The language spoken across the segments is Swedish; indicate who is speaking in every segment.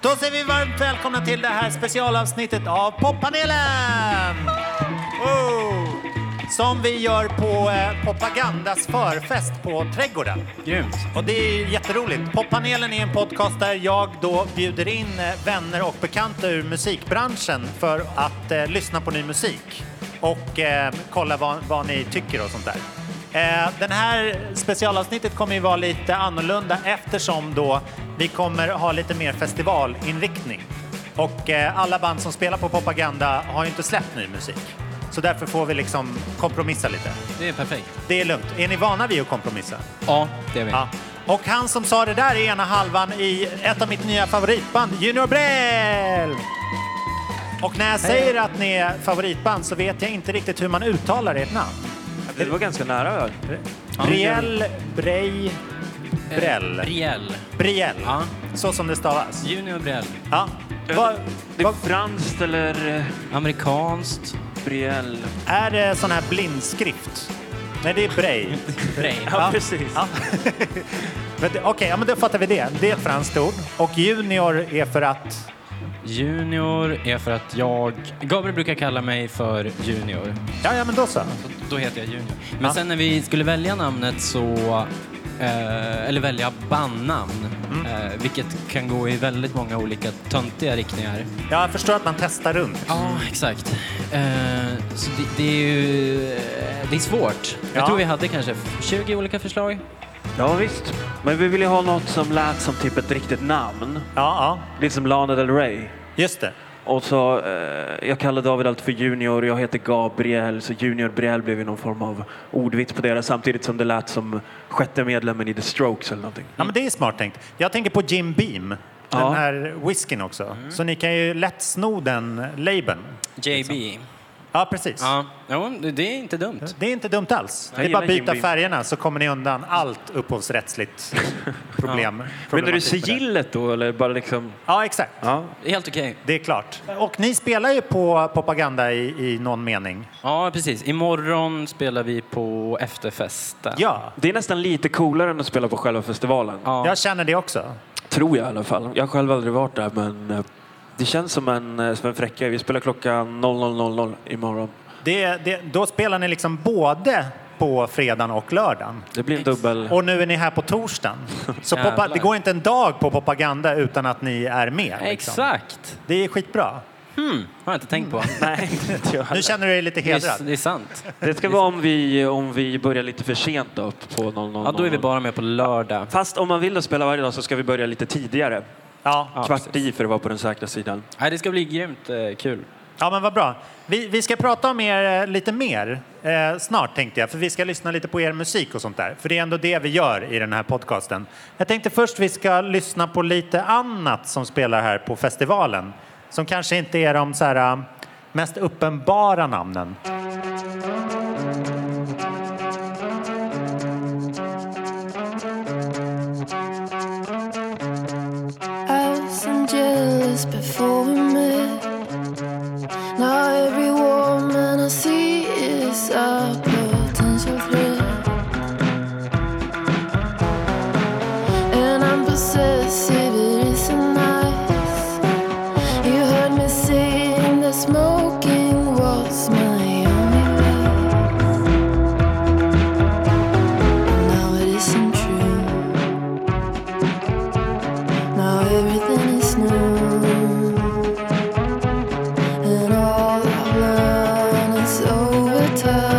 Speaker 1: Då säger vi varmt välkomna till det här specialavsnittet av Poppanelen! Oh! Som vi gör på eh, Poppagandas förfest på Trädgården.
Speaker 2: Grymt.
Speaker 1: Och det är ju jätteroligt. Poppanelen är en podcast där jag då bjuder in eh, vänner och bekanta ur musikbranschen för att eh, lyssna på ny musik och eh, kolla vad, vad ni tycker och sånt där. Eh, den här specialavsnittet kommer ju vara lite annorlunda eftersom då vi kommer ha lite mer festivalinriktning. Och eh, alla band som spelar på Propaganda har ju inte släppt ny musik. Så därför får vi liksom kompromissa lite.
Speaker 2: Det är perfekt.
Speaker 1: Det är lugnt. Är ni vana vid att kompromissa?
Speaker 2: Ja, det är vi.
Speaker 1: Ja. Och han som sa det där är ena halvan i ett av mitt nya favoritband, Junior Brell! Och när jag säger att ni är favoritband så vet jag inte riktigt hur man uttalar ert namn.
Speaker 3: Det var ganska nära.
Speaker 1: Briel, Brej, Brell.
Speaker 2: Briell.
Speaker 1: Briel.
Speaker 2: Eh, Ja.
Speaker 1: Så som det stavas.
Speaker 2: Junior Briell.
Speaker 1: Ja. Vad,
Speaker 3: Eh, Det är franskt eller eh,
Speaker 2: Amerikanskt.
Speaker 3: Briel.
Speaker 1: är det sån här blindskrift? Nej, det är Brej.
Speaker 2: Brej.
Speaker 3: Ja, precis.
Speaker 1: Ja. Men det- Okej, ja, men då fattar vi det. Det är ett franskt ord. Och junior är för att...
Speaker 2: Junior är för att jag... Gabriel brukar kalla mig för Junior.
Speaker 1: Ja, ja, men då så.
Speaker 2: Så då heter jag Junior. Men
Speaker 1: Ja.
Speaker 2: sen när vi skulle välja namnet så... Eh, eller välja bandnamn. Eh, vilket kan gå i väldigt många olika töntiga riktningar.
Speaker 1: Ja, jag förstår att man testar runt.
Speaker 2: Ja, exakt. Eh, så det, det är ju... eh, Det är svårt.
Speaker 1: Ja.
Speaker 2: Jag tror vi hade kanske 20 olika förslag.
Speaker 3: Ja, visst. Men vi ville ju ha något som lät som typ ett riktigt namn.
Speaker 1: Ja, ja.
Speaker 3: Lite som Lana Del Rey.
Speaker 1: Just det.
Speaker 3: Och så, eh, jag kallar David allt för Junior, jag heter Gabriel, så Junior Briel blev ju någon form av ordvits på deras samtidigt som det lät som sjätte medlemmen i The Strokes eller någonting.
Speaker 1: Ja, men det är smart tänkt. Jag tänker på Jim Beam, den
Speaker 3: Ja. Mm.
Speaker 1: här whiskyn också. Så ni kan ju lätt sno den labeln.
Speaker 2: JB.
Speaker 1: Ja, precis.
Speaker 2: Ja, jo, det- det är inte dumt.
Speaker 1: Det är inte dumt alls.
Speaker 3: Jag
Speaker 1: det är bara att
Speaker 3: gillar Jim
Speaker 1: byta
Speaker 3: Beam.
Speaker 1: färgerna så kommer ni undan allt upphovsrättsligt problem.
Speaker 3: Men är du
Speaker 1: problematik med det.
Speaker 3: sigillet då eller bara liksom?
Speaker 1: Ja, exakt.
Speaker 3: Ja.
Speaker 2: Det är helt okej.
Speaker 1: Det är klart. Och ni spelar ju på Propaganda i, i någon mening.
Speaker 2: Ja, precis. Imorgon spelar vi på efterfesten.
Speaker 1: Ja,
Speaker 3: Det är nästan lite coolare än att spela på själva festivalen.
Speaker 2: Ja.
Speaker 1: jag känner det också.
Speaker 3: Tror jag i alla fall. Jag har själv aldrig varit där men eh, det känns som en, eh, som en fräcka. Vi spelar klockan 00.00 imorgon.
Speaker 1: Det, det, då spelar ni liksom både på fredagen och lördagen.
Speaker 3: Det blir en dubbel...
Speaker 1: Och nu är ni här på torsdagen. Så
Speaker 2: Jävlar.
Speaker 1: poppa, det går inte en dag på propaganda utan att ni är med. liksom.
Speaker 2: Exakt.
Speaker 1: Det är skitbra.
Speaker 2: Hmm, har jag inte tänkt
Speaker 1: Mm.
Speaker 2: på.
Speaker 3: Nej, inte
Speaker 1: Nu
Speaker 3: jag heller.
Speaker 1: känner du dig lite
Speaker 2: Det är,
Speaker 1: hedrad.
Speaker 2: det är sant.
Speaker 3: Det ska vara om vi, om vi börjar lite för sent då på 00.00.
Speaker 2: Ja, då är vi bara med på lördag.
Speaker 3: Fast om man vill då spela varje dag så ska vi börja lite tidigare.
Speaker 1: Ja.
Speaker 3: Kvart i för att vara på den säkra sidan.
Speaker 2: Nej, det ska bli grymt eh, kul.
Speaker 1: ja, men vad bra. Vi, vi ska prata om er eh, lite mer eh, snart tänkte jag, för vi ska lyssna lite på er musik och sånt där. För det är ändå det vi gör i den här podcasten. Jag tänkte först vi ska lyssna på lite annat som spelar här på festivalen. Som kanske inte är de så här, eh, mest uppenbara namnen.
Speaker 4: I wasn't jealous before we met. Now every woman I see is a potential threat. And I'm possessive, it isn't nice. You heard me saying that smoking was my only way. Now it isn't true. Now everything is new, and all I've learned is over time.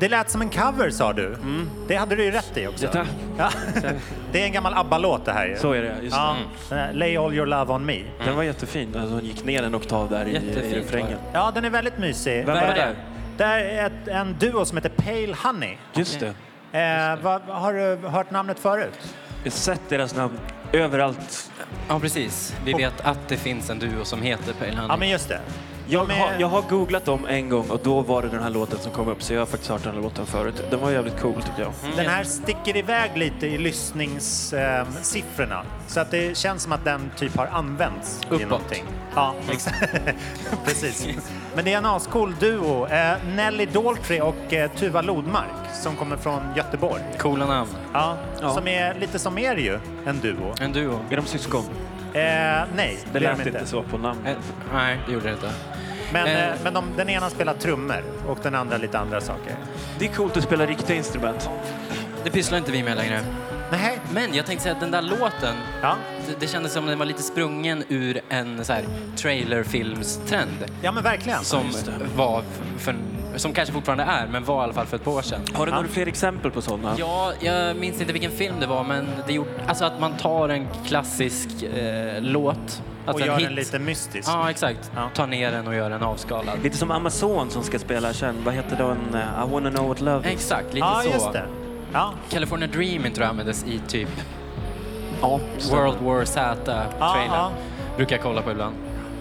Speaker 1: Det lät som en cover sa du. Mm. Det hade du ju rätt i också.
Speaker 3: Ja, tack.
Speaker 1: Ja. Det är en gammal ABBA-låt det här ju.
Speaker 3: Så är det, just
Speaker 1: ja. Den här Lay all your love on me.
Speaker 3: Den var jättefin. Alltså, hon gick ner en oktav där i,
Speaker 2: Jättefint
Speaker 3: i refrängen.
Speaker 2: var
Speaker 1: Ja, den är väldigt mysig.
Speaker 3: Vem
Speaker 2: Vem
Speaker 3: var
Speaker 2: är
Speaker 3: där?
Speaker 1: Det är ett, en duo som heter Pale Honey.
Speaker 3: Just det.
Speaker 1: Eh, vad, har du hört namnet förut?
Speaker 3: Jag har sett deras namn överallt.
Speaker 2: Ja, precis. Vi vet att det finns en duo som heter Pale Honey.
Speaker 1: Ja, men just det.
Speaker 3: Jag,
Speaker 1: De är-
Speaker 3: har, jag har googlat dem en gång och då var det den här låten som kom upp. Så jag har faktiskt hört den här låten förut. Den var jävligt cool tycker jag.
Speaker 1: Den här sticker iväg lite i lyssningssiffrorna. Så att det känns som att den typ har använts i
Speaker 2: Uppåt.
Speaker 1: någonting. Ja, exakt. Precis. Men det är en ascool duo. Eh, Nelly Daltrey och eh, Tuva Lodmark som kommer från Göteborg.
Speaker 2: Coola namn.
Speaker 1: Ja,
Speaker 3: Ja.
Speaker 1: Som är lite som er ju, en duo.
Speaker 2: En duo.
Speaker 3: Är de syskon?
Speaker 1: Eh, nej,
Speaker 3: Det
Speaker 1: är de
Speaker 3: lät inte så på namnet.
Speaker 2: Eh, nej, det gjorde det inte.
Speaker 1: Men,
Speaker 2: Eh.
Speaker 1: eh, men de, den ena spelar trummor och den andra lite andra saker.
Speaker 3: Det är coolt att spela riktiga instrument.
Speaker 2: Det pysslar inte vi med längre.
Speaker 1: Nej.
Speaker 2: Men jag tänkte säga att den där låten,
Speaker 1: Ja.
Speaker 2: Det, det kändes som den var lite sprungen ur en så här trailerfilmstrend
Speaker 1: ja, men verkligen.
Speaker 2: som var f- för, som kanske fortfarande är, men var i alla fall för ett par år sedan.
Speaker 3: Har du några fler exempel på sådana?
Speaker 2: Ja, jag minns inte vilken film det var, men det gjorde, alltså att man tar en klassisk eh, låt,
Speaker 1: och
Speaker 2: alltså
Speaker 1: gör
Speaker 2: en hit.
Speaker 1: den lite mystisk.
Speaker 2: Ja, exakt.
Speaker 1: Ja.
Speaker 2: Tar ner den och gör den avskalad.
Speaker 3: Lite som Amazon som ska spela sen. Vad heter den? eh, I wanna know what love is.
Speaker 2: Exakt, lite
Speaker 1: Ja,
Speaker 2: så.
Speaker 1: just det. Ja,
Speaker 2: California Dreaming tror jag användes i typ
Speaker 3: Ja,
Speaker 2: World War Z-trailern.
Speaker 1: ja.
Speaker 2: Brukar jag kolla på ibland.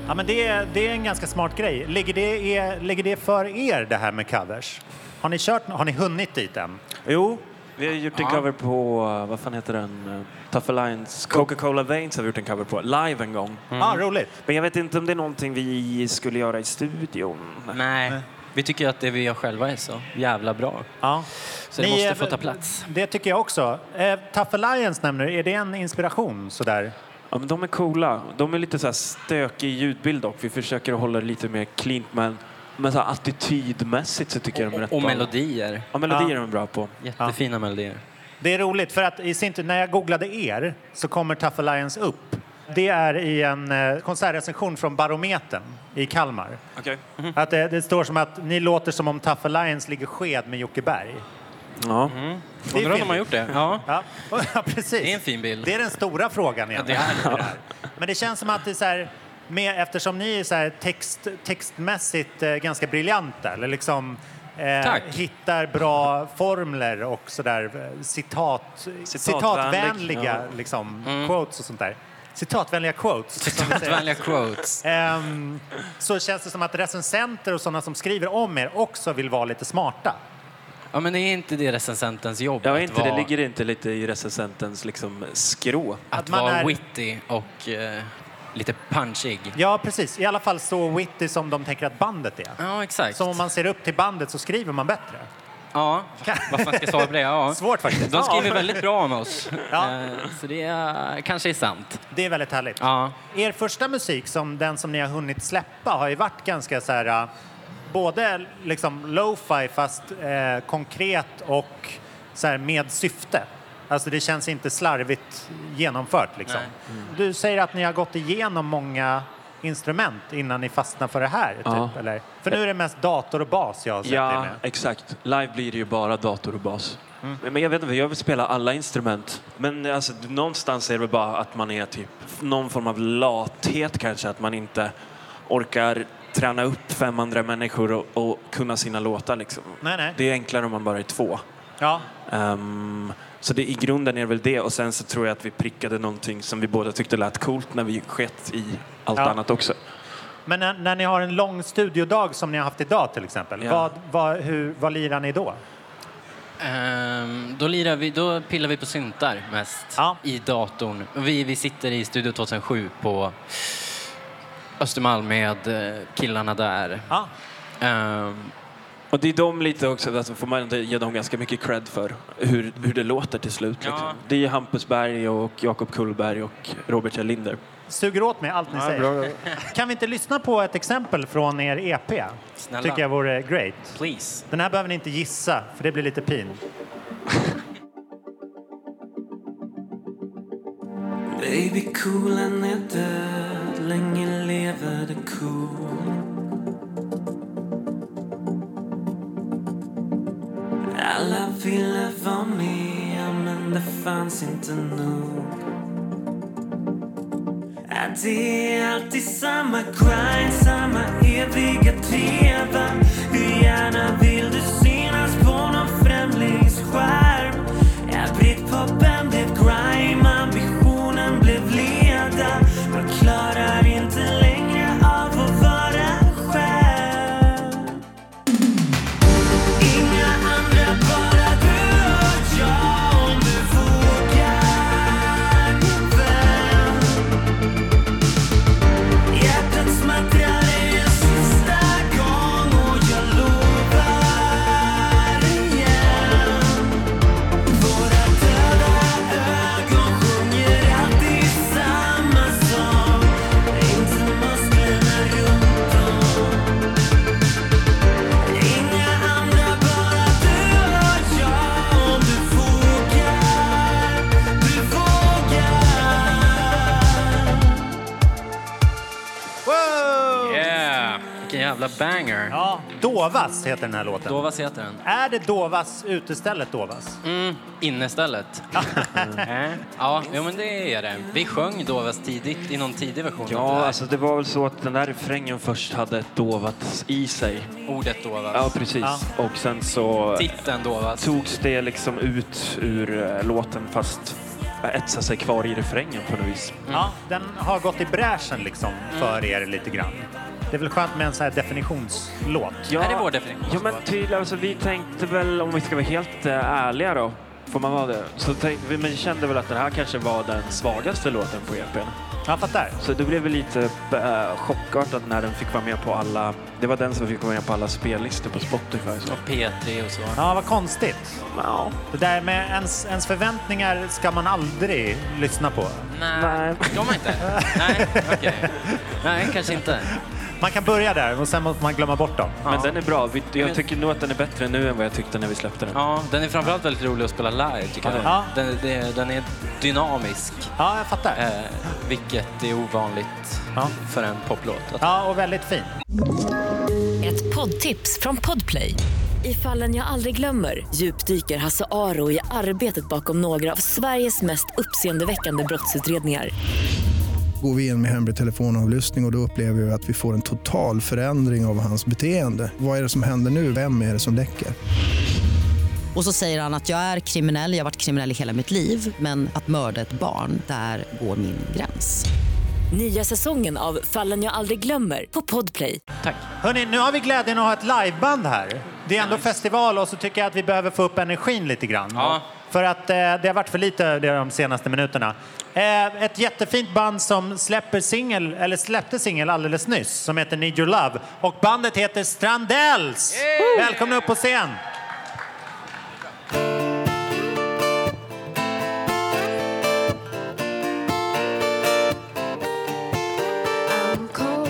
Speaker 1: Ja, men det, är- det är en ganska smart grej. Ligger det, är, ligger det för er, det här med covers? Har ni, kört, har ni hunnit dit än?
Speaker 3: Jo, vi har gjort en
Speaker 2: Ja.
Speaker 3: cover på, eh, vad fan heter den? Eh, Tough Alliance. Mm. Coca-Cola Veins har vi gjort en cover på, live en gång.
Speaker 1: Ja, ah, roligt.
Speaker 3: Men jag vet inte om det är någonting vi skulle göra i studion.
Speaker 2: Nej. Vi tycker ju att det vi gör själva är så jävla bra.
Speaker 1: Ja.
Speaker 2: Så det måste få ta plats.
Speaker 1: Det tycker jag också. Eh, Tough Alliance nämner du. Är det en inspiration? Sådär?
Speaker 3: Ja, men de är coola. De är lite så här stökig ljudbild dock. Vi försöker att hålla det lite mer cleant men, men så här attitydmässigt så tycker jag de är rätt
Speaker 2: Och, och
Speaker 3: bra.
Speaker 2: melodier.
Speaker 3: Ja, melodier är de bra på.
Speaker 2: Jättefina melodier.
Speaker 1: Det är roligt, för att i sin tur, när jag googlade er så kommer Tough Alliance upp. Det är i en eh, konsertrecension från Barometern i Kalmar.
Speaker 3: Okej.
Speaker 1: Att eh, det, det står som att ni låter som om Tough Alliance ligger sked med Jocke Berg.
Speaker 3: Ja.
Speaker 1: Det är
Speaker 2: Undrar om de
Speaker 1: fint.
Speaker 2: har gjort det? Ja.
Speaker 1: Ja, ja precis.
Speaker 2: Det är en fin bild.
Speaker 1: Det är den stora frågan egentligen.
Speaker 2: Ja,
Speaker 1: det Men det känns som att det är så här, med, eftersom ni är så här text, textmässigt eh, ganska briljanta, eller liksom eh,
Speaker 2: Tack.
Speaker 1: hittar bra formler och så där, eh, citat, citatvänliga
Speaker 3: Ja.
Speaker 1: liksom,
Speaker 2: Mm.
Speaker 1: quotes och sånt där. Citatvänliga quotes. som vi säger.
Speaker 2: Citatvanliga quotes.
Speaker 1: Ehm, så känns det som att recensenter och sådana som skriver om er också vill vara lite smarta.
Speaker 2: Ja, men det är inte det recensentens jobb
Speaker 3: Jag
Speaker 2: att
Speaker 3: vet inte,
Speaker 2: vara,
Speaker 3: det ligger inte lite i recensentens liksom skrå.
Speaker 1: att
Speaker 2: att
Speaker 1: man
Speaker 2: vara
Speaker 1: är-
Speaker 2: witty och eh, lite punchig.
Speaker 1: Ja, precis. I alla fall så witty som de tänker att bandet är.
Speaker 2: Ja, exakt.
Speaker 1: Som om man ser upp till bandet så skriver man bättre.
Speaker 2: Ja, vad fan ska jag svara på det? Ja.
Speaker 1: Svårt faktiskt.
Speaker 2: De skriver
Speaker 1: Ja.
Speaker 2: väldigt bra om oss.
Speaker 1: Ja.
Speaker 2: Eh, Så det är, kanske är sant.
Speaker 1: Det är väldigt härligt.
Speaker 2: Ja.
Speaker 1: Er första musik, som den som ni har hunnit släppa, har ju varit ganska så här... äh, Både liksom lo-fi, fast eh, konkret och så här, med syfte. Alltså det känns inte slarvigt genomfört. Liksom. Du säger att ni har gått igenom många instrument innan ni fastnar för det här. Typ,
Speaker 3: Ja.
Speaker 1: eller? För nu är det mest dator och bas jag har sett er
Speaker 3: Ja,
Speaker 1: med.
Speaker 3: exakt. Live blir det ju bara dator och bas. Men- Men jag vet inte, jag vill spela alla instrument. Men alltså, någonstans är det väl bara att man är typ någon form av lathet kanske, att man inte orkar träna upp fem andra människor och, och kunna sina låtar liksom.
Speaker 1: Nej, nej.
Speaker 3: Det är enklare om man bara är två.
Speaker 1: Ja.
Speaker 3: Ehm, så det, i grunden är det väl det och sen så tror jag att vi prickade någonting som vi båda tyckte lät coolt när vi skett i allt
Speaker 1: Ja.
Speaker 3: annat också.
Speaker 1: Men när, när ni har en lång studiodag som ni har haft idag till exempel,
Speaker 3: Ja.
Speaker 1: vad, vad, hur, vad lirar ni då?
Speaker 2: Ehm, då, lirar vi, då pillar vi på syntar mest
Speaker 1: Ja.
Speaker 2: i datorn. Vi, vi sitter i Studio 2007 på Östermalm med eh, killarna där.
Speaker 1: Ja,
Speaker 2: Ehm,
Speaker 3: Och det är de lite också, alltså får man inte ge dem ganska mycket cred för, hur, hur det låter till slut.
Speaker 2: Ja.
Speaker 3: Liksom. Det är Hampus Berg och Jakob Kullberg och Robert Kjellinder.
Speaker 1: suger åt mig allt ni säger. Kan vi inte lyssna på ett exempel från er EP?
Speaker 2: Snälla.
Speaker 1: Tycker jag vore great.
Speaker 2: please.
Speaker 1: Den här behöver ni inte gissa, för det blir lite pin.
Speaker 5: Baby coolen är död, länge lever det cool Alla ville vara med, men det fanns inte nog. Ja, Det är alltid samma grind, samma eviga trevan. Hur gärna vill du synas på någon främlingsskärm? Ja, Britpopen blev grime, ambitionen blev leda. Man klarar inte längre av att vara själv. Inga andra, bara du och jag om du vågar, min vän. Hjärtat smattrar en sista gång och jag lovar igen Våra döda ögon sjunger alltid samma sång Inte musklerna runt om Inga andra, bara du och jag Om du vågar, du vågar
Speaker 1: Wow!
Speaker 2: Yeah! Vilken jävla banger.
Speaker 1: Ja, Dovas heter den här låten.
Speaker 2: Dovas heter den.
Speaker 1: Är det Dovas utestället Dovas?
Speaker 2: Mm, innestället. Mm. ja, jo, men det är det. Vi sjöng Dovas tidigt i någon tidig version av det
Speaker 3: Ja,
Speaker 2: där.
Speaker 3: alltså det var väl så att den där refrängen först hade ett dovat i sig.
Speaker 2: ordet Dovas.
Speaker 3: Ja, precis.
Speaker 1: Ja.
Speaker 3: Och sen så
Speaker 2: Titeln Dovas.
Speaker 3: togs det liksom ut ur eh, låten fast eh, etsade sig kvar i refrängen på något vis.
Speaker 1: Ja, den har gått i bräschen liksom för er lite grann. Det är väl skönt med en sån här definitionslåt.
Speaker 3: Ja,
Speaker 2: Är det vår definition?
Speaker 3: Ja, men tydligen. Alltså, vi tänkte väl, om vi ska vara helt eh, ärliga då, får man vara det? Så tänkte vi, men kände väl att den här kanske var den svagaste låten på EPn.
Speaker 1: Jag fattar.
Speaker 3: Så det blev väl lite eh, chockartat när den fick vara med på alla... Det var den som fick vara med på alla spellistor på Spotify. Så.
Speaker 2: Och P3 och så.
Speaker 1: Ja, vad konstigt.
Speaker 3: Ja.
Speaker 1: Det där med ens, ens förväntningar ska man aldrig lyssna på.
Speaker 2: Nej,
Speaker 3: Nej.
Speaker 2: de inte? Nej, okej. Nej, kanske inte.
Speaker 1: Man kan börja där och sen måste man glömma bort dem.
Speaker 3: Men
Speaker 2: Ja.
Speaker 3: den är bra. Vi,
Speaker 2: Men-
Speaker 3: jag tycker nog att den är bättre nu än vad jag tyckte när vi släppte den.
Speaker 2: Ja, den är framförallt väldigt rolig att spela live tycker jag.
Speaker 1: Ja.
Speaker 2: Den, det- den är dynamisk,
Speaker 1: Ja, jag fattar.
Speaker 2: eh, vilket är ovanligt
Speaker 1: Ja.
Speaker 2: för en poplåt. Att
Speaker 1: Ja, och väldigt fin.
Speaker 6: Ett poddtips från Podplay. I fallen jag aldrig glömmer djupdyker Hasse Aro i arbetet bakom några av Sveriges mest uppseendeväckande brottsutredningar.
Speaker 7: går vi in med hemlig telefonavlyssning och, och då upplever vi att vi får en total förändring av hans beteende. Vad är det som händer nu? Vem är det som läcker?
Speaker 8: Och så säger han att jag är kriminell, jag har varit kriminell i hela mitt liv men att mörda ett barn, där går min gräns.
Speaker 6: Nya säsongen av Fallen jag aldrig glömmer på Podplay.
Speaker 1: Hörni, nu har vi glädjen att ha ett liveband här. Det är ändå festival och så tycker jag att vi behöver få upp energin lite grann.
Speaker 2: Ja.
Speaker 1: För att eh, det har varit för lite av det de senaste minuterna. Eh, ett jättefint band som släpper singel, eller släppte singel alldeles nyss, som heter Need Your Love. Och bandet heter Strandells! Välkomna upp på scen!
Speaker 4: I'm cold,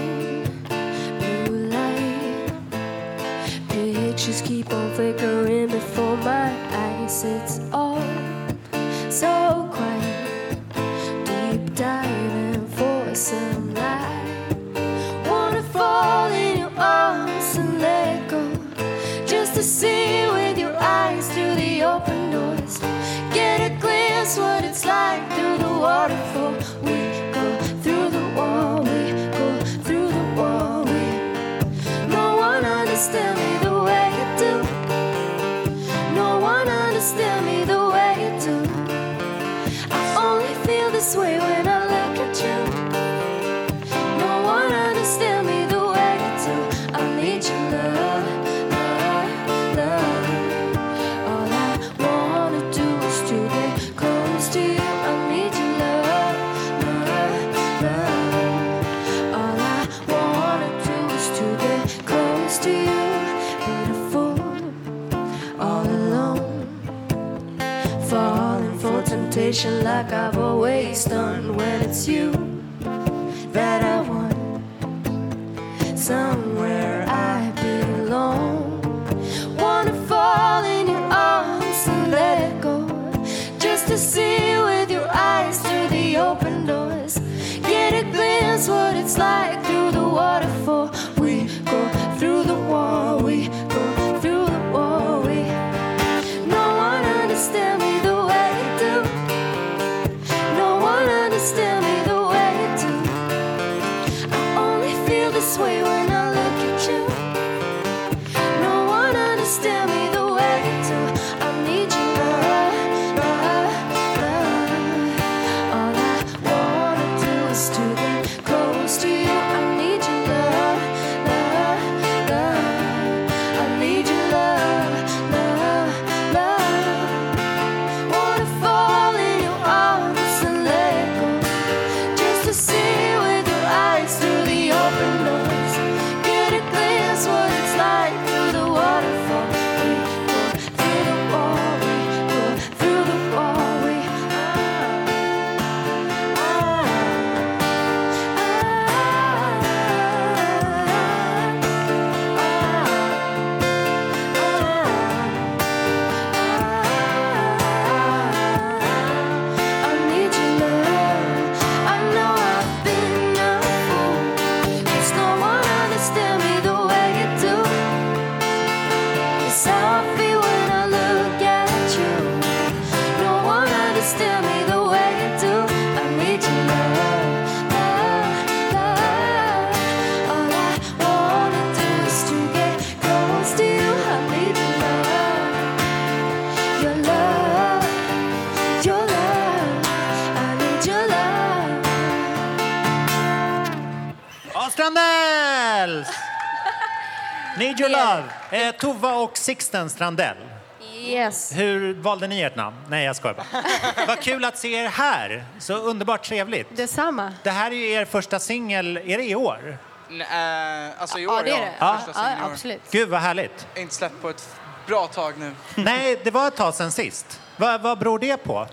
Speaker 4: blue light. Pictures keep on flickering before my eyes. It's all so quiet. Deep diving for some light. Wanna fall in your arms and let go. Just to see with your eyes through the open doors. Get a glimpse what it's like through the waterfall. We go through the wall, we go through the wall. We no one understands me the way you do. No one understands me the way you do. I only feel this way when I look at you. No one understands me the way you do. I need your love, love, love. All I wanna do is to get close to you. I need your love, love, love. All I wanna do is to get close to you, but I fall all alone falling for temptation like I've always done when it's you that I want. Somewhere I belong. Wanna fall in your arms and let it go. Just to see with your eyes through the open doors. Get a glimpse what it's like through the waterfall. We go through the wall, we go through the wall, we no
Speaker 1: Need Your Love, eh, Tova och Sixten Strandell.
Speaker 4: Yes.
Speaker 1: Hur valde ni ert namn? Nej, jag skojar bara. Vad kul att se er här. Så underbart trevligt.
Speaker 4: Detsamma.
Speaker 1: Det här är ju er första singel, är det i år?
Speaker 5: N- eh, alltså i år,
Speaker 4: Ja, det är det.
Speaker 1: Ja.
Speaker 5: Första
Speaker 4: Ja,
Speaker 5: singeln i år.
Speaker 4: absolut.
Speaker 1: Gud, vad härligt.
Speaker 5: Inte släppt på ett bra tag nu.
Speaker 1: Nej, det var ett tag sedan sist. Vad, vad beror det på?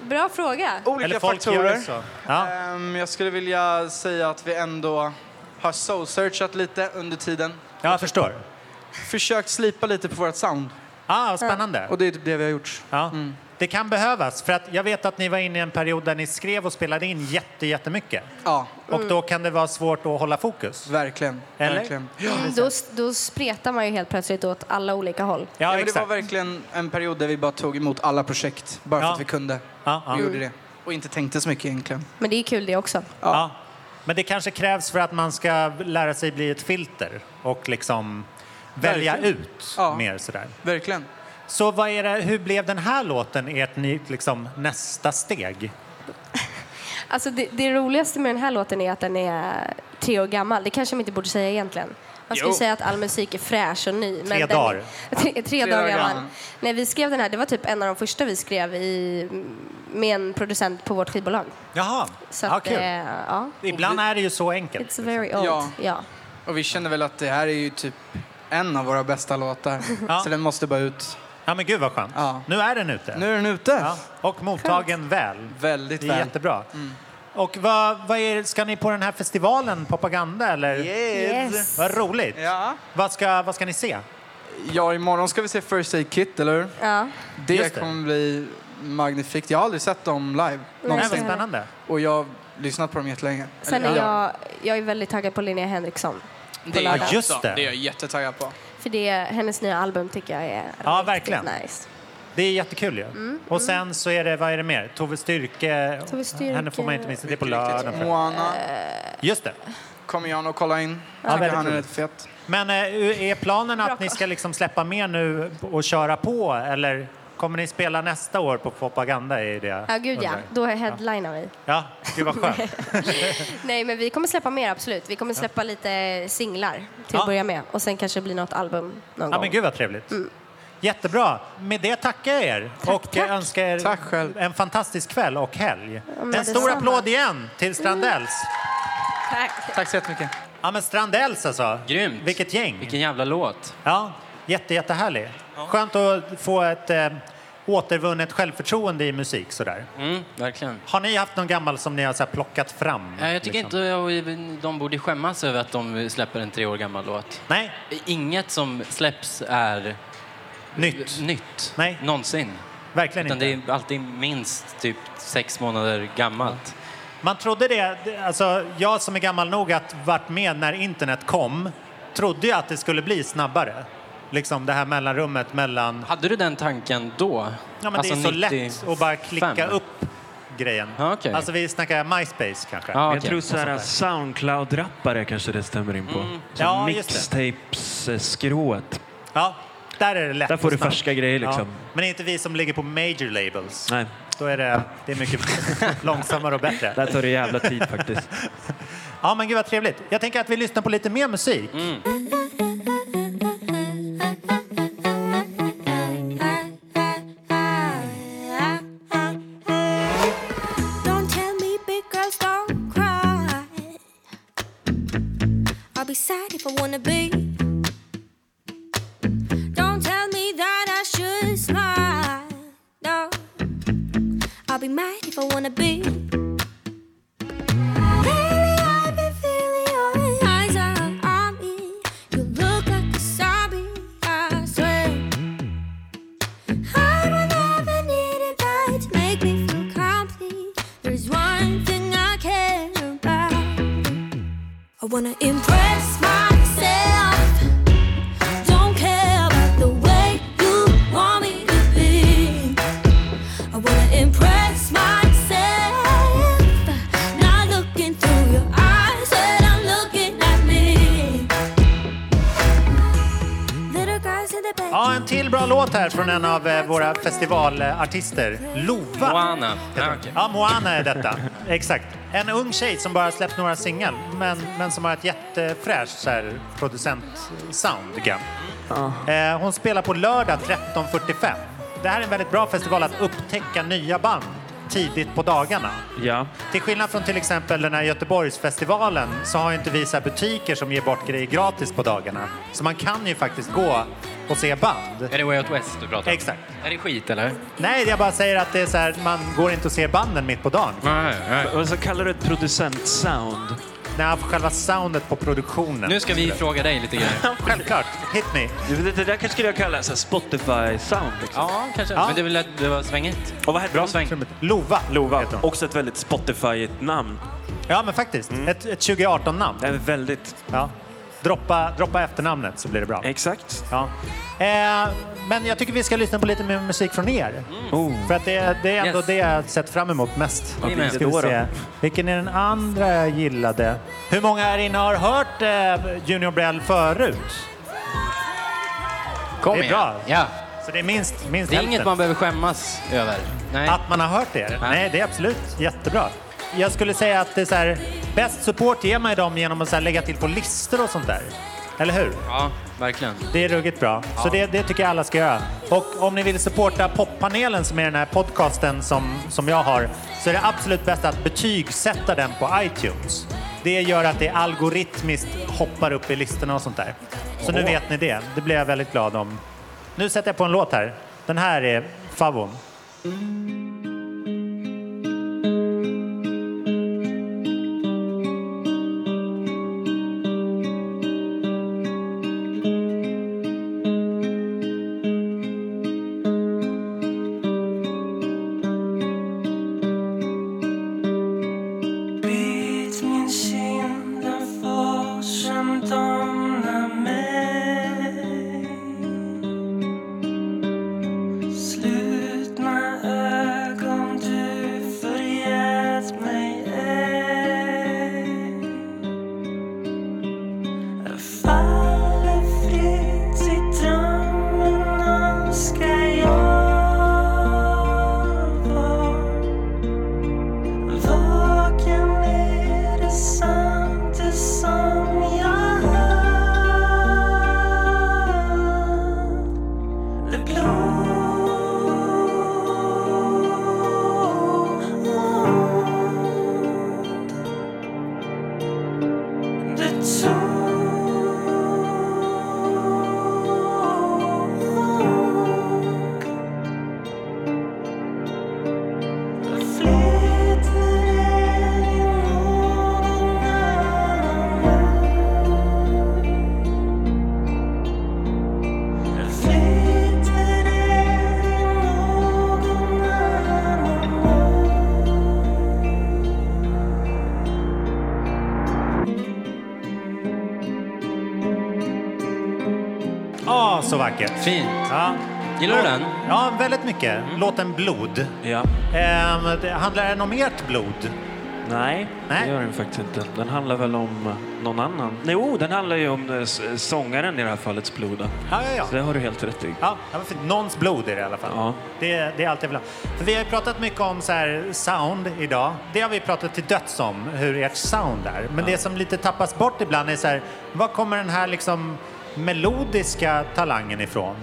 Speaker 4: Bra fråga.
Speaker 5: Olika faktorer.
Speaker 1: så. Ja.
Speaker 5: Ehm, jag skulle vilja säga att vi ändå har soul-searchat lite under tiden.
Speaker 1: Ja, jag förstår.
Speaker 5: Försökt slipa lite på vårt sound.
Speaker 1: Ah, vad spännande.
Speaker 5: Och det är typ det vi har gjort.
Speaker 1: Ja. Det kan behövas, för att jag vet att ni var inne i en period där ni skrev och spelade in jätte, jättemycket.
Speaker 5: Ja,
Speaker 1: Och då kan det vara svårt att hålla fokus.
Speaker 5: verkligen.
Speaker 1: Eller?
Speaker 5: verkligen.
Speaker 4: Mm, Då, då spretar man ju helt plötsligt åt alla olika håll.
Speaker 5: Ja,
Speaker 1: Ja,
Speaker 5: men det var
Speaker 1: exakt.
Speaker 5: verkligen en period där vi bara tog emot alla projekt bara för
Speaker 1: Ja.
Speaker 5: att vi kunde.
Speaker 1: Ja, ja.
Speaker 5: Vi gjorde det. Och inte tänkte så mycket egentligen.
Speaker 4: Men det är kul det också.
Speaker 1: Ja. Men det kanske krävs för att man ska lära sig bli ett filter och liksom välja ut
Speaker 5: Ja.
Speaker 1: mer sådär.
Speaker 5: Verkligen.
Speaker 1: Så vad är det, hur blev den här låten ert ny, liksom, nästa steg?
Speaker 4: Alltså det, det roligaste med den här låten är att den är tre år gammal. Det kanske man inte borde säga egentligen. Man skulle
Speaker 5: Jo.
Speaker 4: säga att all musik är fräsch och ny. Men
Speaker 1: Tre
Speaker 4: den,
Speaker 1: dagar.
Speaker 4: Tre, tre, dagar
Speaker 5: dagar
Speaker 4: gammal.
Speaker 5: gammal.
Speaker 4: När vi skrev den här, det var typ en av de första vi skrev i, med en producent på vårt skivbolag.
Speaker 1: Jaha,
Speaker 4: Så
Speaker 1: ja,
Speaker 4: att,
Speaker 1: Ah, kul.
Speaker 4: eh, ja.
Speaker 1: Ibland är det ju så enkelt.
Speaker 4: It's very old.
Speaker 5: Ja.
Speaker 4: Ja.
Speaker 5: Och vi kände väl att det här är ju typ en av våra bästa låtar.
Speaker 1: Ja.
Speaker 5: Så den måste bara ut.
Speaker 1: Ja men gud vad skönt.
Speaker 5: Ja.
Speaker 1: Nu är den ute.
Speaker 5: Nu är den ute.
Speaker 1: Ja. Och mottagen väl.
Speaker 5: Väldigt
Speaker 1: Det är
Speaker 5: väl.
Speaker 1: jättebra. Mm. Och vad, vad är, ska ni på den här festivalen, Propaganda eller?
Speaker 5: Yes.
Speaker 4: Yes.
Speaker 1: Vad roligt.
Speaker 5: Ja.
Speaker 1: Vad, ska, vad ska ni se?
Speaker 5: ja, imorgon ska vi se First Aid Kit, eller hur?
Speaker 4: Ja.
Speaker 5: Det,
Speaker 1: Just det.
Speaker 5: kommer bli magnifikt. Jag har aldrig sett dem live
Speaker 1: Nej, vad
Speaker 5: någonsin.
Speaker 1: spännande.
Speaker 5: Och jag har lyssnat på dem jättelänge.
Speaker 4: Sen är jag, jag är väldigt taggad på Linnea Henriksson.
Speaker 5: Det är,
Speaker 1: Ja,
Speaker 5: jag
Speaker 1: just
Speaker 5: också.
Speaker 1: det.
Speaker 5: det är jag jättetaggad på.
Speaker 4: För det, hennes nya album tycker jag är
Speaker 1: Ja,
Speaker 4: riktigt
Speaker 1: verkligen.
Speaker 4: nice. Mm.
Speaker 1: Det är jättekul ju. Och sen så är det, vad är det mer? Tove Styrke.
Speaker 4: Tove Styrke.
Speaker 1: Henne får man inte missa. Det är på lördagen. tror jag.
Speaker 5: Moana
Speaker 1: Just det.
Speaker 5: kommer jag nog kolla in.
Speaker 1: Ja,
Speaker 5: Tycker
Speaker 1: väldigt
Speaker 5: han är
Speaker 1: roligt.
Speaker 5: rätt fet.
Speaker 1: Men eh, är planen att ni ska liksom släppa mer nu och köra på eller kommer ni spela nästa år på Propaganda? Är det jag
Speaker 4: Ja, gud ja.
Speaker 1: undrar?
Speaker 4: Då är headlinar vi.
Speaker 1: Ja, gud vad skönt.
Speaker 4: Nej, men vi kommer släppa mer, absolut. Vi kommer släppa lite singlar till
Speaker 1: Ja.
Speaker 4: att börja med. Och sen kanske det blir något album någon
Speaker 1: Ja,
Speaker 4: gång.
Speaker 1: men gud vad trevligt. Jättebra. Med det tackar jag er och
Speaker 4: Mm. tack.
Speaker 1: önskar er
Speaker 5: Tack själv.
Speaker 1: en fantastisk kväll och helg.
Speaker 4: men
Speaker 1: en stor
Speaker 4: detsamma. Mm.
Speaker 1: applåd igen till Strandells.
Speaker 4: Tack.
Speaker 5: Tack så jättemycket.
Speaker 1: Ja, men Strandells alltså.
Speaker 2: Grymt.
Speaker 1: Vilket gäng.
Speaker 2: Vilken jävla låt.
Speaker 1: Ja, jätte, jättehärlig. Skönt att få ett eh, återvunnet självförtroende i musik sådär.
Speaker 2: Mm, verkligen.
Speaker 1: Har ni haft någon gammal som ni har så här, plockat fram?
Speaker 2: Ja, jag tycker
Speaker 1: liksom?
Speaker 2: inte jag, de borde skämmas över att de släpper en tre år gammal låt.
Speaker 1: Nej,
Speaker 2: Inget som släpps är
Speaker 1: nytt.
Speaker 2: nytt
Speaker 1: Nej.
Speaker 2: någonsin.
Speaker 1: Verkligen
Speaker 2: Utan
Speaker 1: inte.
Speaker 2: det är alltid minst typ sex månader gammalt.
Speaker 1: Man trodde det, alltså jag som är gammal nog att varit med när internet kom, trodde ju att det skulle bli snabbare. Liksom det här mellanrummet mellan...
Speaker 2: Hade du den tanken då? Alltså
Speaker 1: Ja men det är så lätt att bara klicka upp grejen.
Speaker 2: Ja, okej.
Speaker 1: Alltså vi snackar MySpace kanske.
Speaker 2: Ja,
Speaker 3: Jag
Speaker 2: Ah, okej.
Speaker 3: tror så här Soundcloud-rappare kanske det stämmer in på. Så
Speaker 1: Ja, just det.
Speaker 3: Mixtapes-skrået.
Speaker 1: Ja, där är det lätt
Speaker 3: Där får
Speaker 1: och
Speaker 3: du
Speaker 1: snabbt.
Speaker 3: färska grejer
Speaker 1: Ja,
Speaker 3: liksom.
Speaker 1: Men det är inte vi som ligger på major labels.
Speaker 3: Nej,
Speaker 1: Då är det, det är mycket långsammare och bättre.
Speaker 3: där tar det jävla tid faktiskt.
Speaker 1: Ja, men gud vad trevligt. Jag tänker att vi lyssnar på lite mer musik.
Speaker 6: Don't tell me big girls don't cry. I'll be sad if I wanna be. Don't tell me that I should smile. No, I'll be mad if I wanna be. Lately I've been feeling your eyes are on me. You look like a zombie, I swear. I will never need a guy to make me feel complete. There's one thing I care about. I wanna impress myself. Don't care about the way you want me to be. I wanna impress myself. Not looking through your eyes when I'm looking at me. Little guys in the
Speaker 1: Ja, en till bra låt här från en av eh, våra festivalartister. Lova.
Speaker 2: Moana.
Speaker 1: heter
Speaker 2: Ja,
Speaker 1: hon.
Speaker 2: okej.
Speaker 1: Ja, Moana är detta. Exakt. En ung tjej som bara släppt några singlar, men, men som har ett jättefräscht så här, producent-sound. tycker jag. Eh, Hon spelar på lördag 13.45. Det här är en väldigt bra festival att upptäcka nya band tidigt på dagarna.
Speaker 3: Ja.
Speaker 1: Till skillnad från till exempel den här Göteborgsfestivalen så har ju inte vi så här butiker som ger bort grejer gratis på dagarna. Så man kan ju faktiskt gå och se band.
Speaker 2: Är det Way Out West du pratar om?
Speaker 1: Exakt.
Speaker 2: Är det skit eller? Ah,
Speaker 1: Nej, jag bara säger att det är så här, man går inte och ser banden mitt på dagen.
Speaker 2: Nej, nej.
Speaker 3: Och så kallar du ett producentsound.
Speaker 1: Nej, för själva soundet på produktionen.
Speaker 2: Nu ska vi fråga dig lite grejer.
Speaker 1: Självklart, hit me.
Speaker 3: Det, det, det där kanske skulle jag kalla så här Spotify-sound. Liksom.
Speaker 2: Ja, kanske.
Speaker 1: Ja.
Speaker 2: Men det, är väl att det var svängigt.
Speaker 3: Och vad heter
Speaker 2: Bra
Speaker 3: hon?
Speaker 2: sväng.
Speaker 1: Lova.
Speaker 3: Lova.
Speaker 1: heter hon.
Speaker 3: Också ett väldigt Spotify-igt namn.
Speaker 1: Ja, men faktiskt.
Speaker 2: Mm.
Speaker 1: Ett, ett 2018-namn.
Speaker 3: Det är väldigt...
Speaker 1: Ja. Droppa, droppa efternamnet så blir det bra.
Speaker 3: Exakt.
Speaker 1: Ja. Eh, men jag tycker vi ska lyssna på lite mer musik från er. För att det, det är ändå
Speaker 2: Mm. Yes.
Speaker 1: det jag har sett fram emot mest.
Speaker 2: Vad blir det
Speaker 1: Ska vi
Speaker 3: då då?
Speaker 1: se. Vilken är den andra jag gillade? Hur många här inne har hört eh, Junior Brell förut?
Speaker 2: Kom
Speaker 1: Det är
Speaker 2: igen.
Speaker 1: bra.
Speaker 2: Ja.
Speaker 1: Så det är minst, minst
Speaker 2: Det är
Speaker 1: hälften.
Speaker 2: inget man behöver skämmas över. Nej.
Speaker 1: Att man har hört det?
Speaker 2: Nej.
Speaker 1: Nej, det är absolut jättebra. Jag skulle säga att det är så här, bäst support ger man ju dem genom att så här lägga till på listor och sånt där. Eller hur?
Speaker 2: Ja, verkligen.
Speaker 1: Det är ruggigt bra. Så det, det tycker jag alla ska göra. Och om ni vill supporta poppanelen som är den här podcasten som, som jag har så är det absolut bäst att betygsätta den på iTunes. Det gör att det algoritmiskt hoppar upp i listorna och sånt där. Så nu vet ni det. Det blir jag väldigt glad om. Nu sätter jag på en låt här. Den här är favon.
Speaker 5: Bit min kind, den forsen domnar mig Slutna ögon, du förgät mig ej Jag faller fritt, i drömmen önskar jag var Vaken är det sant det som jag hör Det blå Det
Speaker 3: Eh,
Speaker 5: tog
Speaker 1: Ja, så vackert.
Speaker 2: Fint.
Speaker 1: Ja.
Speaker 2: Gillar du den?
Speaker 1: Ja, väldigt mycket. Låten Blod.
Speaker 3: Ja.
Speaker 1: Ehm, det- handlar den om ert blod?
Speaker 3: Nej,
Speaker 1: Nej.
Speaker 3: det gör den faktiskt inte. Den handlar väl om eh, någon annan. Nej, oh, den handlar ju om eh, s- eh, sångaren i det här fallet, Sploda.
Speaker 1: Ja, ja,
Speaker 3: Så
Speaker 1: ja.
Speaker 3: det har du helt rätt i.
Speaker 1: Ja, det var fint. Någons blod är det i alla fall.
Speaker 3: Ja.
Speaker 1: Det, det är allt jag vill ha. För vi har ju pratat mycket om så här sound idag. Det har vi pratat till döds om, hur ert sound är. Men det som lite tappas bort ibland är så här, var kommer den här liksom melodiska talangen ifrån?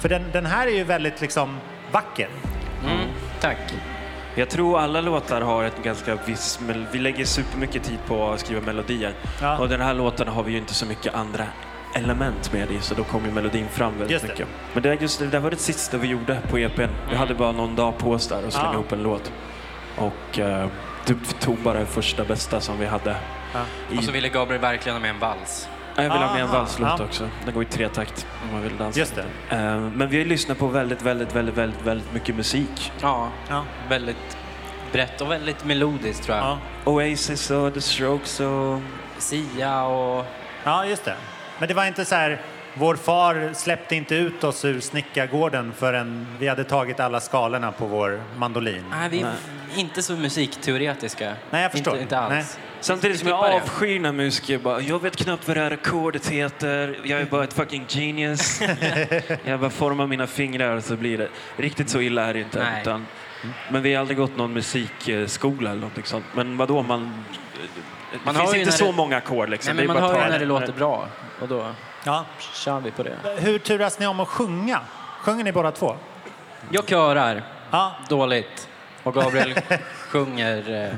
Speaker 1: För den, den här är ju väldigt liksom vacker.
Speaker 2: Mm, tack.
Speaker 3: Jag tror alla låtar har ett ganska visst... mel- Vi lägger supermycket tid på att skriva melodier.
Speaker 1: Ja.
Speaker 3: Och den här låten har vi ju inte så mycket andra element med i, så då kommer ju melodin fram väldigt
Speaker 1: Just det. Mm.
Speaker 3: mycket. Men det, är just, det där var det sista vi gjorde på EPn. Vi hade bara någon dag på oss där och slänga
Speaker 1: Ja.
Speaker 3: ihop en låt. Och eh, typ tog bara det första bästa som vi hade. I,
Speaker 2: Och så ville Gabriel verkligen ha med en vals.
Speaker 3: Ja, jag vill ha med en
Speaker 1: Aha.
Speaker 3: valslåt
Speaker 1: Alltså Ja.
Speaker 3: också. Den går i tre takt om man vill dansa.
Speaker 1: Just det.
Speaker 3: Eh, men vi har ju lyssnat på väldigt, väldigt, väldigt, väldigt, väldigt mycket musik.
Speaker 2: Ja,
Speaker 1: Ja.
Speaker 2: väldigt brett och väldigt melodiskt tror jag.
Speaker 1: Ja,
Speaker 3: Oasis och The Strokes och...
Speaker 2: Sia och...
Speaker 1: ja just det. Men det var inte så här, vår far släppte inte ut oss ur snickargården förrän vi hade tagit alla skalorna på vår mandolin.
Speaker 2: Nej, vi, inte så musikteoretiska.
Speaker 1: Nej, jag förstår.
Speaker 2: Inte, inte alls.
Speaker 1: Nej.
Speaker 3: Samtidigt som jag
Speaker 2: Skippar det.
Speaker 3: avskyr när musiker bara, jag vet knappt vad det här ackordet heter, jag är bara ett fucking genius. jag bara formar mina fingrar så blir det. Riktigt så illa är det inte.
Speaker 2: Nej.
Speaker 3: Utan, men vi har aldrig gått någon musikskola eller någonting sånt. Men vadå, man...
Speaker 2: Man
Speaker 3: det
Speaker 2: har
Speaker 3: finns
Speaker 2: ju
Speaker 3: inte
Speaker 2: när
Speaker 3: så
Speaker 2: det-
Speaker 3: många ackord liksom.
Speaker 2: Nej, men
Speaker 3: Det är
Speaker 2: man
Speaker 3: bara att
Speaker 2: hör
Speaker 3: ta
Speaker 2: ju när det
Speaker 3: en-
Speaker 2: låter bra och då
Speaker 1: Ja.
Speaker 2: kör vi på det.
Speaker 1: Hur turas ni om att sjunga? Sjunger ni båda två?
Speaker 2: Jag körar
Speaker 1: Ja.
Speaker 2: dåligt och Gabriel sjunger... eh,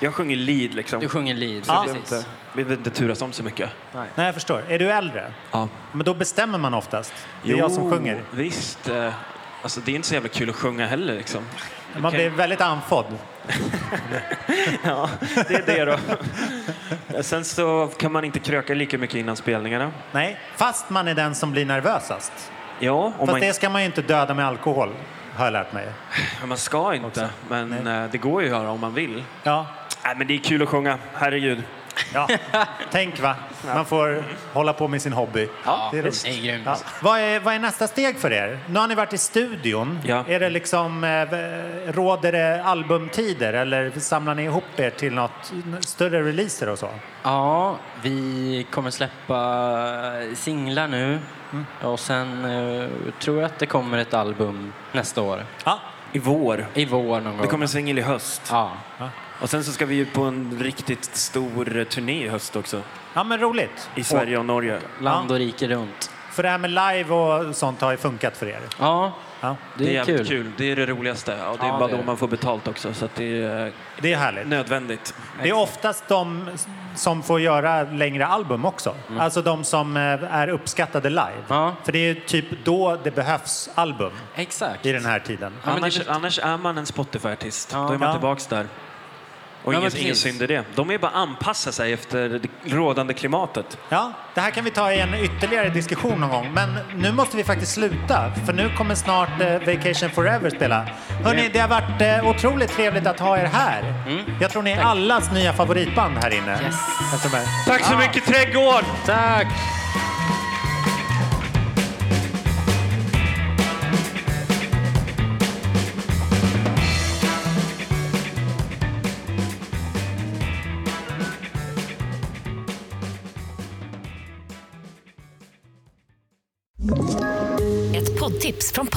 Speaker 3: Jag sjunger lead liksom. eh,
Speaker 2: Du sjunger lead,
Speaker 1: Ja.
Speaker 2: precis.
Speaker 3: Vi behöver inte turas om så mycket.
Speaker 1: Nej, jag förstår. Är du äldre?
Speaker 3: Ja.
Speaker 1: Men då bestämmer man oftast. Det är jag som sjunger.
Speaker 3: Visst. eh, Alltså, det är inte så jävla kul att sjunga heller liksom.
Speaker 1: Man blir väldigt andfådd.
Speaker 3: Ja, det är det då. Sen så kan man inte kröka lika mycket innan spelningarna.
Speaker 1: Nej, fast man är den som blir nervösast.
Speaker 3: Ja, och
Speaker 1: Fast
Speaker 3: man,
Speaker 1: det ska man ju inte döda med alkohol, har jag lärt mig.
Speaker 3: man ska inte, men eh, det går ju att göra om man vill.
Speaker 1: Ja,
Speaker 3: Nej, men det är kul att sjunga, herregud.
Speaker 1: ja. tänk va. Man får hålla på med sin hobby.
Speaker 2: Ja,
Speaker 1: det är roligt.
Speaker 2: det är grymt.
Speaker 1: Ja. Vad, är, vad är nästa steg för er? Nu har ni varit i studion.
Speaker 3: Ja.
Speaker 1: Är det liksom, eh, råder det albumtider eller samlar ni ihop er till något större releaser och så?
Speaker 2: Ja, vi kommer släppa eh, singlar nu
Speaker 1: Mm.
Speaker 2: och sen eh, tror jag att det kommer ett album nästa år.
Speaker 1: Ja.
Speaker 3: I vår.
Speaker 2: I vår någon gång.
Speaker 3: Det kommer en singel i höst.
Speaker 2: Ja.
Speaker 3: Och sen så ska vi ju på en riktigt stor eh, turné i höst också.
Speaker 1: ja, men roligt.
Speaker 3: I Sverige och Norge.
Speaker 2: Land och rike runt.
Speaker 1: För det här med live och sånt har ju funkat för er.
Speaker 2: Ja,
Speaker 1: Ja.
Speaker 2: det, är
Speaker 3: jävligt
Speaker 2: kul.
Speaker 3: kul. Det är det roligaste. Och det är
Speaker 2: Ja,
Speaker 3: bara
Speaker 2: det
Speaker 3: då
Speaker 2: är det.
Speaker 3: man får betalt också, så att det är eh,
Speaker 1: Det är härligt.
Speaker 3: nödvändigt.
Speaker 1: Det är oftast de som får göra längre album också. Alltså de som eh, är uppskattade live.
Speaker 2: Ja.
Speaker 1: För det är ju typ då det behövs album
Speaker 2: Exakt.
Speaker 1: i den här tiden.
Speaker 2: Ja, men det
Speaker 3: annars,
Speaker 2: är lite-
Speaker 3: annars är man en Spotify-artist.
Speaker 2: Ja.
Speaker 3: Då är man
Speaker 1: Ja.
Speaker 3: tillbaks där. Och
Speaker 2: Ja, men
Speaker 3: ingen,
Speaker 2: precis.
Speaker 3: ingen synd i det. De är bara anpassa sig efter det rådande klimatet.
Speaker 1: Ja, det här kan vi ta i en ytterligare diskussion någon gång. Men nu måste vi faktiskt sluta, för nu kommer snart eh, Vacation Forever spela. Hörni, det har varit eh, otroligt trevligt att ha er här. Jag tror ni är allas nya favoritband här inne. Efter de här.
Speaker 3: Tack så mycket Trädgård!
Speaker 2: Tack!
Speaker 6: Ett poddtips från